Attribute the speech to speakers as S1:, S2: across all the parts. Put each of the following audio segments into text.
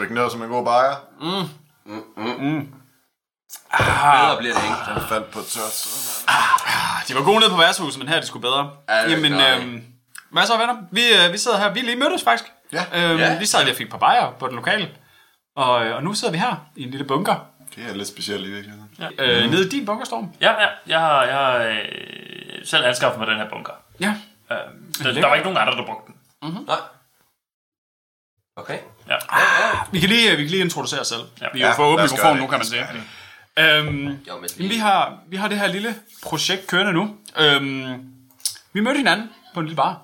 S1: dykke ned som en god bajer.
S2: Bedre bliver det ikke.
S1: Den faldt på tørt.
S3: De var gode nede på værtshuset, men her er de sgu bedre.
S2: Ja, det er
S3: Jamen,
S2: klart.
S3: øhm, hvad så venner? Vi, øh, vi sidder her, vi lige mødtes faktisk.
S1: Ja.
S3: Øhm,
S2: Ja.
S3: Vi sad lige og fik et par bajer på den lokale. Og, øh, og nu sidder vi her i en lille bunker.
S1: Det er lidt specielt i virkeligheden. Ja.
S3: Øh, nede i din bunkerstorm.
S4: Ja, ja, jeg har, jeg har øh, selv anskaffet mig den her bunker.
S3: Ja.
S4: Øh, der, der var ikke nogen andre, der brugte den.
S2: Nej. Okay.
S4: Ja.
S3: Vi kan lige, øh, vi kan lige introducere os selv.
S4: Ja.
S3: Vi er jo
S1: Ja,
S3: for åben
S1: lad os gøre
S3: mikrofon
S1: det.
S3: nu, kan man sige. Øhm,
S2: Jo, men
S3: Jamen, vi,
S2: lige...
S3: har, vi har det her lille projekt kørende nu. Øhm, vi mødte hinanden på en lille bar.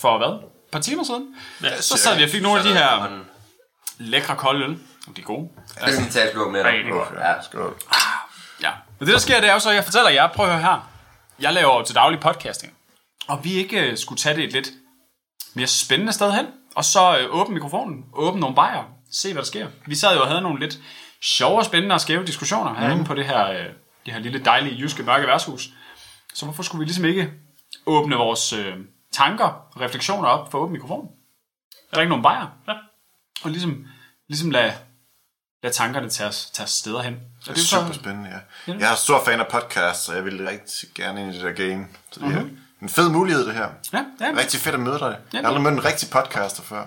S3: For hvad? Et par timer siden. Ja, så sad vi og fik nogle af de her lækre kolde øl. De er gode.
S2: Jeg skal lige tage et slurk med dig. Ja,
S1: Skål.
S3: Ja. Men det, der sker, det er jo så, at jeg fortæller jer, prøv at høre her. Jeg laver jo til daglig podcasting. Og vi ikke øh, skulle tage det et lidt mere spændende sted hen. Og så øh, åbne mikrofonen, åbne nogle bajer, se hvad der sker. Vi sad jo og havde nogle lidt sjove, og spændende og skæve diskussioner herinde på det her, øh, det her lille dejlige jyske mørke værtshus. Så hvorfor skulle vi ligesom ikke åbne vores øh, tanker og refleksioner op for åben mikrofon? Er der ikke nogen bajer? Ja. Og ligesom, ligesom lade, lade tankerne tage os, tage os steder hen. Og
S1: Det er super spændende, ja. Jeg er stor fan af podcasts, så jeg ville rigtig gerne ind i det der game. Så det er en fed mulighed, det her.
S3: Mhm. Ja, ja.
S1: Rigtig fedt at møde dig. Jeg har aldrig mødt en rigtig podcaster før.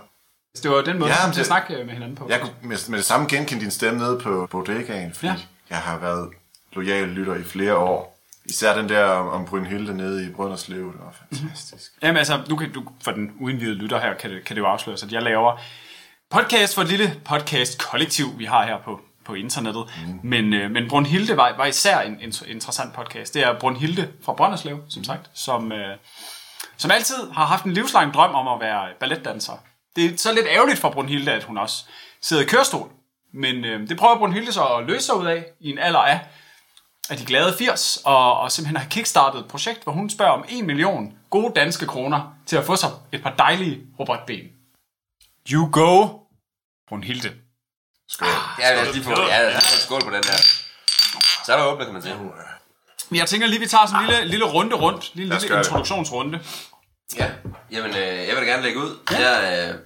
S3: Det var den måde,
S1: Ja,
S3: ja,
S1: men
S3: vi det...
S1: det-
S3: snakke øh, med hinanden på.
S1: Jeg kunne med, med det samme genkende din stemme nede på bodegaen, fordi
S3: Ja.
S1: ja. jeg har været lojal lytter i flere år. Især den der om, om Brynhilde nede i Brønderslev, det var
S3: Mhm.
S1: fantastisk.
S3: Jamen altså, nu kan du, for den uindvidede lytter her, kan det, kan det jo afsløres, at jeg laver podcast for et lille podcast-kollektiv, vi har her på, på internettet. Mm. Men, øh, men Brunhilde var, var især en, en interessant podcast. Det er Brunhilde fra Brønderslev,
S1: Mm.
S3: som sagt, som, øh, som altid har haft en livslang drøm om at være balletdanser. Det er så lidt ærgerligt for Brunhilde, at hun også sidder i kørestol. Men øh, det prøver Brunhilde så at løse sig ud af i en alder af af de glade 80, og, og simpelthen har kickstartet et projekt, hvor hun spørger om 1 million gode danske kroner til at få sig et par dejlige robotben. You go, Brunhilde.
S1: Skål.
S2: ja lad os lige få, ja, lad os lige få et skål på den der. Så er der åbnet, kan man sige.
S3: Men jeg tænker lige, vi tager sådan en lille, lille runde rundt. Lille,
S1: os
S3: lille
S1: gøre det.
S3: introduktionsrunde.
S2: Ja, jamen, øh, jeg vil da gerne lægge ud. Jeg, øh,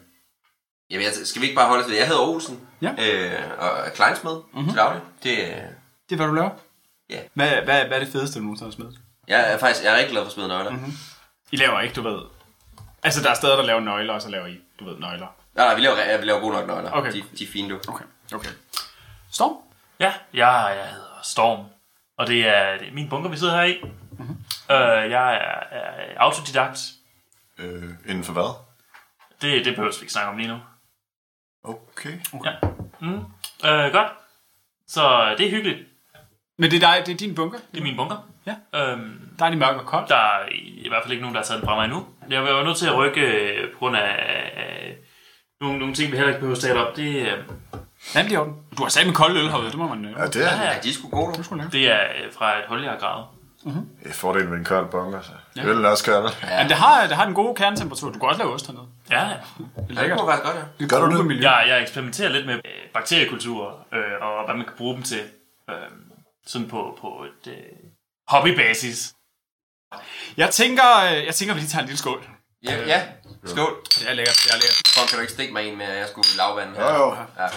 S2: jamen, jeg, skal vi ikke bare holde os ved? Jeg hedder Olsen,
S3: Ja.
S2: øh, og er kleinsmed mm-hmm. til daglig. Det, øh,
S3: Det er, hvad du laver.
S2: Ja.
S3: Hvad, hvad, hvad er det fedeste, du nogensinde har smidt?
S2: jeg er faktisk jeg er rigtig glad for at smide nøgler. Mm-hmm.
S3: I laver ikke, du ved. Altså, der er steder, der laver nøgler, og så laver I, du ved, nøgler.
S2: Nej, nej, vi laver, ja, vi laver gode nok nøgler.
S3: Okay.
S2: De, de er fine, du.
S3: Okay, okay. Storm?
S4: Ja, jeg, jeg hedder Storm, og det er, det er min bunker, vi sidder her i. Mm-hmm. Øh, jeg er, er autodidakt.
S1: Øh, inden for hvad?
S4: Det, det behøver vi ikke snakke om lige nu.
S1: Okay.
S3: Oh,
S4: Mm. Øh, godt. Så øh, det er hyggeligt.
S3: Men det er dig, det er din bunker.
S4: Det er min bunker.
S3: Ja.
S4: Øhm,
S3: Der er de mørke og koldt.
S4: Der er i hvert fald ikke nogen, der har taget den fra mig endnu. Jeg var nødt til at rykke øh, på grund af øh, nogle, nogle ting, vi heller ikke behøver at tale op. Det, øh,
S3: Jamen, det er i orden. Du har sat med kolde øl herude, det må man
S1: Ja,
S3: øh,
S1: det er
S2: Ja, de er sgu gode, du.
S4: det er øh, fra et hul, jeg har gravet.
S1: det. er fordelen ved en kold altså. bunker, så. Ja. Øl er også kold. Ja.
S3: Men det har, det har den gode kernetemperatur. Du kan også lave ost hernede.
S4: Ja, ja.
S3: Det er
S2: Ja, det
S3: lækkert.
S2: kunne faktisk godt, ja.
S3: Det
S1: Gør du det?
S3: miljø.
S4: jeg, jeg eksperimenterer lidt med øh, bakteriekulturer øh, og hvad man kan bruge dem til. Øh, sådan på, på et øh, hobbybasis.
S3: Jeg tænker, øh, jeg tænker, vi lige tager en lille skål.
S2: Ja, ja. Skål.
S3: Det er lækkert, det er lækkert.
S2: Fuck, kan du ikke stikke mig en med, at jeg skulle lavvande her?
S1: Jo, jo.
S2: Ja.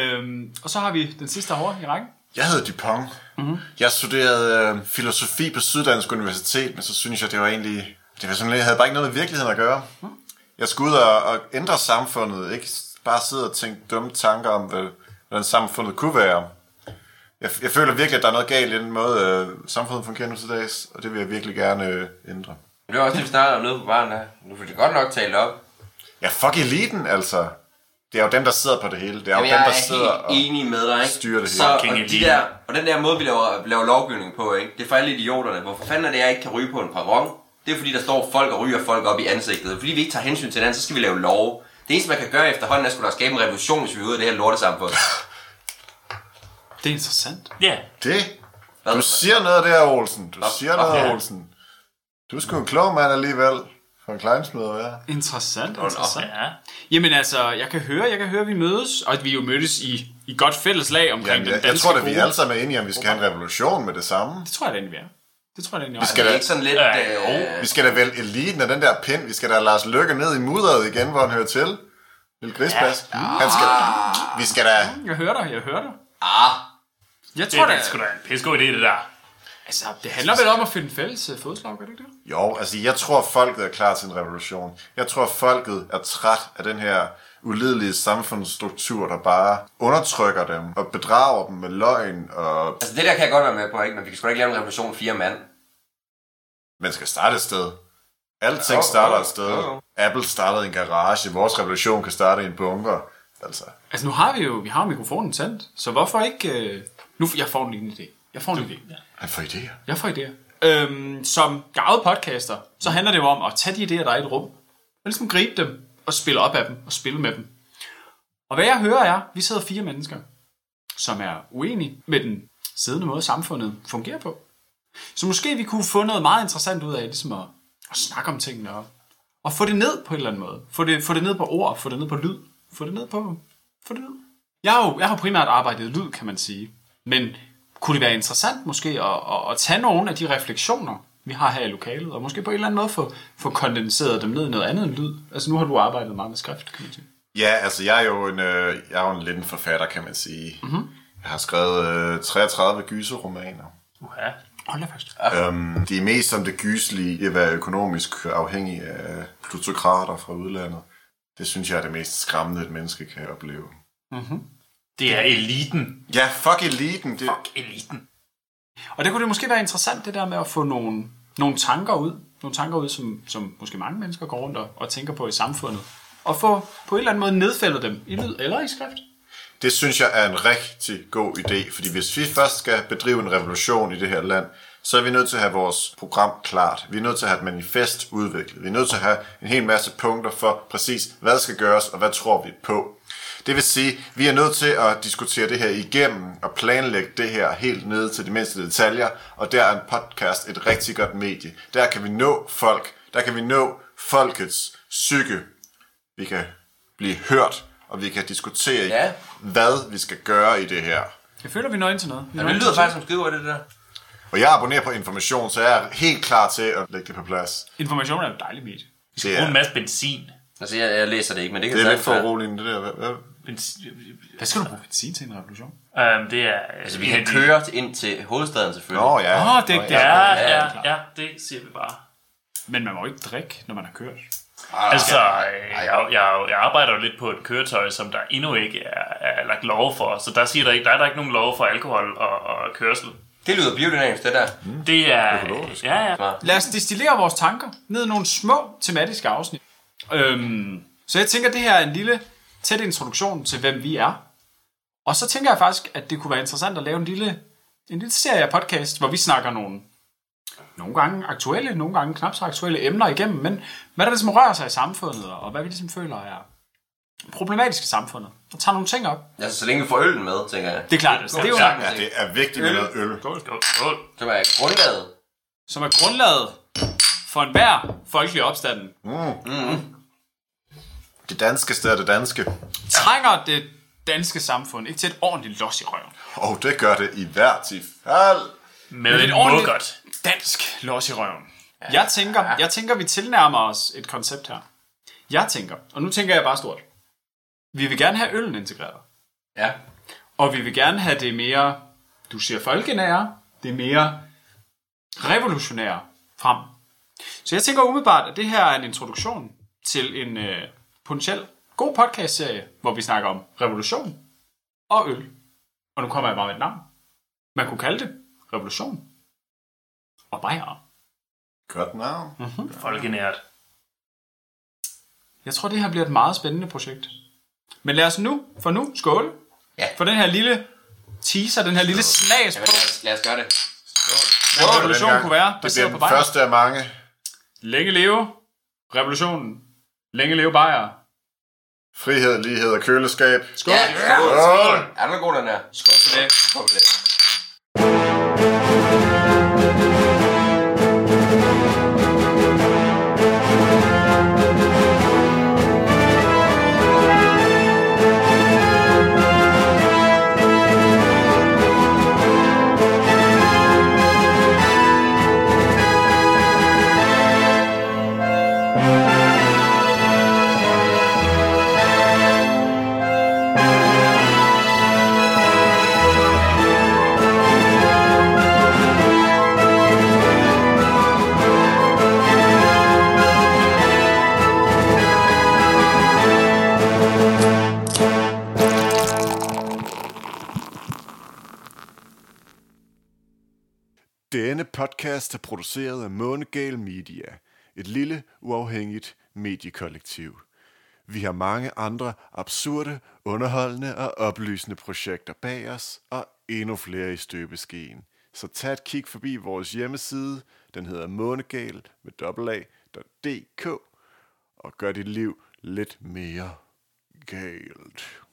S3: Øhm, og så har vi den sidste herovre i rækken.
S1: Jeg hedder Dupont. Mm-hmm.
S2: Mhm.
S1: Jeg studerede øh, filosofi på Syddansk Universitet, men så synes jeg, det var egentlig... Det var sådan, jeg havde bare ikke noget med virkeligheden at gøre.
S2: Mhm.
S1: Jeg skulle ud og, og ændre samfundet, ikke bare sidde og tænke dumme tanker om, hvad, hvordan samfundet kunne være. Jeg, jeg føler virkelig, at der er noget galt i den måde, øh, samfundet fungerer nu til dags, og det vil jeg virkelig gerne øh, ændre.
S2: Men Det var også det, vi snakkede om nede på baren der. Nu får det godt nok talt op.
S1: Ja, fuck eliten, altså. Det er jo dem, der sidder på det hele. Det er jo
S2: Jamen,
S1: dem,
S2: jeg
S1: der
S2: er
S1: sidder
S2: helt
S1: og...
S2: enig med dig, ikke?
S1: styrer det
S2: så,
S1: hele.
S2: og,
S4: King
S2: de
S4: Elite.
S2: der, og den der måde, vi laver, laver lovgivning på, ikke? det er for alle idioterne. Hvorfor fanden er det, jeg ikke kan ryge på en perron? Det er fordi, der står folk og ryger folk op i ansigtet. Fordi vi ikke tager hensyn til den, så skal vi lave lov. Det eneste, man kan gøre efterhånden, er sgu da at skabe en revolution, hvis vi er ude af det her lortesamfund.
S3: Det er interessant.
S4: Ja, yeah.
S1: Det?
S2: Hvad?
S1: Du siger noget der, Olsen. Du siger
S2: nå,
S1: noget,
S2: ja.
S1: Olsen. Du er sgu en klog mand alligevel. For en kleinsmed, ja.
S3: Interessant, interessant.
S4: ja.
S3: Jamen altså, jeg kan høre, jeg kan høre, vi mødes, og at vi jo mødtes i, i godt fælleslag omkring
S1: Jamen,
S3: den
S1: jeg,
S3: danske
S1: jeg tror da, vi
S3: gode-
S1: alle sammen er enige om, vi skal have en revolution med det samme.
S3: Det tror jeg da egentlig, vi er. Det tror jeg da egentlig, vi
S1: skal- Oh.
S2: Det er
S1: da-
S2: ikke sådan lidt...
S4: Ja,
S2: Øh,
S4: jo.
S1: Vi skal da vælge eliten af den der pind. Vi skal da lade Lars Lykke ned i mudderet igen, hvor han hører til. Lille grispas. Ja. Han skal, vi skal da...
S3: Jeg hører dig, jeg hører dig.
S2: Ah,
S3: Jeg
S4: Det
S3: tror,
S4: er
S3: det,
S4: da sgu da en pissegod idé, det der.
S3: altså, det handler vel om at finde fælles øh, fodslag, gør det ikke det?
S1: Jo, altså jeg tror, folket er klar til en revolution. Jeg tror, folket er træt af den her ulidelige samfundsstruktur, der bare undertrykker dem og bedrager dem med løgn. Og
S2: altså det der kan jeg godt være med på, ikke? Men vi kan sgu da ikke lave en revolution fire mand.
S1: man skal starte et sted. Alting
S2: Jo,
S1: starter
S2: jo,
S1: et sted.
S2: jo, jo.
S1: Apple startede i en garage. Vores revolution kan starte i en bunker. Altså,
S3: Altså, nu har vi jo vi har mikrofonen tændt, så hvorfor ikke... Øh, nu, jeg får en lille idé. Jeg får en idé.
S1: han får idéer.
S3: Jeg får idéer. Øhm, som gavet podcaster, så handler det jo om at tage de idéer, der er i et rum, og ligesom gribe dem, og spille op af dem, og spille med dem. Og hvad jeg hører er, vi sidder fire mennesker, som er uenige med den siddende måde, samfundet fungerer på. Så måske vi kunne få noget meget interessant ud af ligesom at, at snakke om tingene og, og få det ned på en eller anden måde. Få det, få det ned på ord, få det ned på lyd, få det ned på... Få det ned. Jeg har jo jeg har primært arbejdet i lyd, kan man sige. Men kunne det være interessant måske at, at, at tage nogle af de refleksioner, vi har her i lokalet, og måske på en eller anden måde få, få kondenseret dem ned i noget andet end lyd? Altså nu har du arbejdet meget med skrift, kan man sige.
S1: Ja, altså jeg er jo en, øh, jeg er jo en lidt en forfatter, kan man sige. Mm-hmm. Jeg har skrevet øh, 33 gyserromaner.
S4: Uha.
S3: Hold da fast.
S1: Øhm, det er mest som det gyselige i at være økonomisk afhængig af plutokrater fra udlandet. Det synes jeg er det mest skræmmende, et menneske kan opleve.
S4: Det er eliten.
S1: Ja, fuck eliten. Det, fuck.
S4: Eliten.
S3: Og det kunne det måske være interessant, det der med at få nogle, nogle tanker ud. Nogle tanker ud, som, som måske mange mennesker går rundt og, og tænker på i samfundet. Og få på en eller anden måde nedfældet dem i lyd eller i skrift.
S1: det synes jeg er en rigtig god idé, fordi hvis vi først skal bedrive en revolution i det her land, så er vi nødt til at have vores program klart. Vi er nødt til at have et manifest udviklet. Vi er nødt til at have en hel masse punkter for præcis, hvad der skal gøres, og hvad tror vi på. Det vil sige, vi er nødt til at diskutere det her igennem og planlægge det her helt ned til de mindste detaljer, og der er en podcast et rigtig godt medie. Der kan vi nå folk. Der kan vi nå folkets psyke. Vi kan blive hørt, og vi kan diskutere,
S2: Ja.
S1: hvad vi skal gøre i det her.
S3: Jeg føler, vi når ind til noget. Vi når
S2: Det
S3: ind
S2: lyder
S3: til-
S2: faktisk som skriver det der.
S1: Og jeg abonnerer på information, så jeg er helt klar til at lægge det på plads.
S3: Information er jo dejligt medie.
S1: Det
S4: Brug en
S1: er,
S4: masse benzin.
S2: Altså jeg, jeg læser det ikke, men det kan
S1: det er lidt
S2: sagtens
S1: for
S2: være.
S1: roligt, det der. Hvad- hvad-
S4: benzin.
S3: Hvad skal du bruge benzin til en revolution?
S4: Øhm, det er... Altså,
S2: Vi kan køre til- ind til hovedstaden selvfølgelig.
S1: Nå ja.
S3: Åh, oh, det er ikke det.
S4: Ja,
S2: ja,
S4: ja,
S2: klart.
S4: ja, det siger vi bare.
S3: Men man må jo ikke drikke, når man har kørt.
S4: Altså, øh, jeg, jeg, jeg arbejder jo lidt på et køretøj, som der endnu ikke er, er lagt lov for, så der siger der ikke, der er der ikke nogen lov for alkohol og, og kørsel.
S2: Det lyder biodynamisk, det der.
S4: Det er...
S1: Økologisk.
S4: Ja, ja.
S3: Lad os distillere vores tanker ned i nogle små tematiske afsnit. Øhm, så jeg tænker, det her er en lille tæt introduktion til, hvem vi er. Og så tænker jeg faktisk, at det kunne være interessant at lave en lille, en lille serie af podcast, hvor vi snakker nogle, nogle gange aktuelle, nogle gange knap så aktuelle emner igennem, men hvad der ligesom rører sig i samfundet, og hvad vi ligesom føler er problematisk i samfundet. Og tager nogle ting op.
S2: Altså så længe vi får øllen med, tænker jeg.
S3: Det er klart, altså, det er jo
S1: Ja, det er vigtigt med noget øl.
S4: Skål, skål.
S2: Det var grundlaget.
S3: som er grundlaget for enhver folkelig opstanden,
S1: Det danske sted er det danske.
S3: trænger det danske samfund ikke til et ordentligt los i røven.
S1: Og det gør det i hvert tilfælde.
S4: Med en
S3: ordentligt-
S4: muggert.
S3: Dansk los i røven. Jeg tænker, jeg tænker, vi tilnærmer os et koncept her. Jeg tænker, og nu tænker jeg bare stort. Vi vil gerne have øllen integreret.
S2: Ja.
S3: Og vi vil gerne have det mere, du siger folkenære, det mere revolutionære frem. Så jeg tænker umiddelbart, at det her er en introduktion til en øh, potentiel god podcastserie, hvor vi snakker om revolution og øl. Og nu kommer jeg bare med et navn. Man kunne kalde det revolution og bajer.
S1: Godt navn.
S4: Folkenært.
S3: Jeg tror, det her bliver et meget spændende projekt. Men lad os nu, for nu, skåle.
S2: Ja.
S3: For den her lille teaser, den her lille
S2: Jamen,
S3: smagsprøve.
S2: lad, os, lad os gøre det.
S3: Hvor
S1: Denne
S3: revolutionen
S1: gang,
S3: kunne være,
S1: Det
S3: baseret
S1: bliver
S3: på
S1: den
S3: Bayer.
S1: første af mange.
S3: Længe leve revolutionen. Længe leve Bayer.
S1: Frihed, lighed og køleskab.
S3: Skål.
S2: Ja,
S3: Yeah.
S2: skål.
S1: Skål!
S2: Er den god, den her? Skål til det. Skål til det.
S1: Denne podcast er produceret af Månegal Media, et lille, uafhængigt mediekollektiv. Vi har mange andre absurde, underholdende og oplysende projekter bag os, og endnu flere i støbeskeen. Så tag et kig forbi vores hjemmeside, den hedder månegal med dobbelt og gør dit liv lidt mere galt.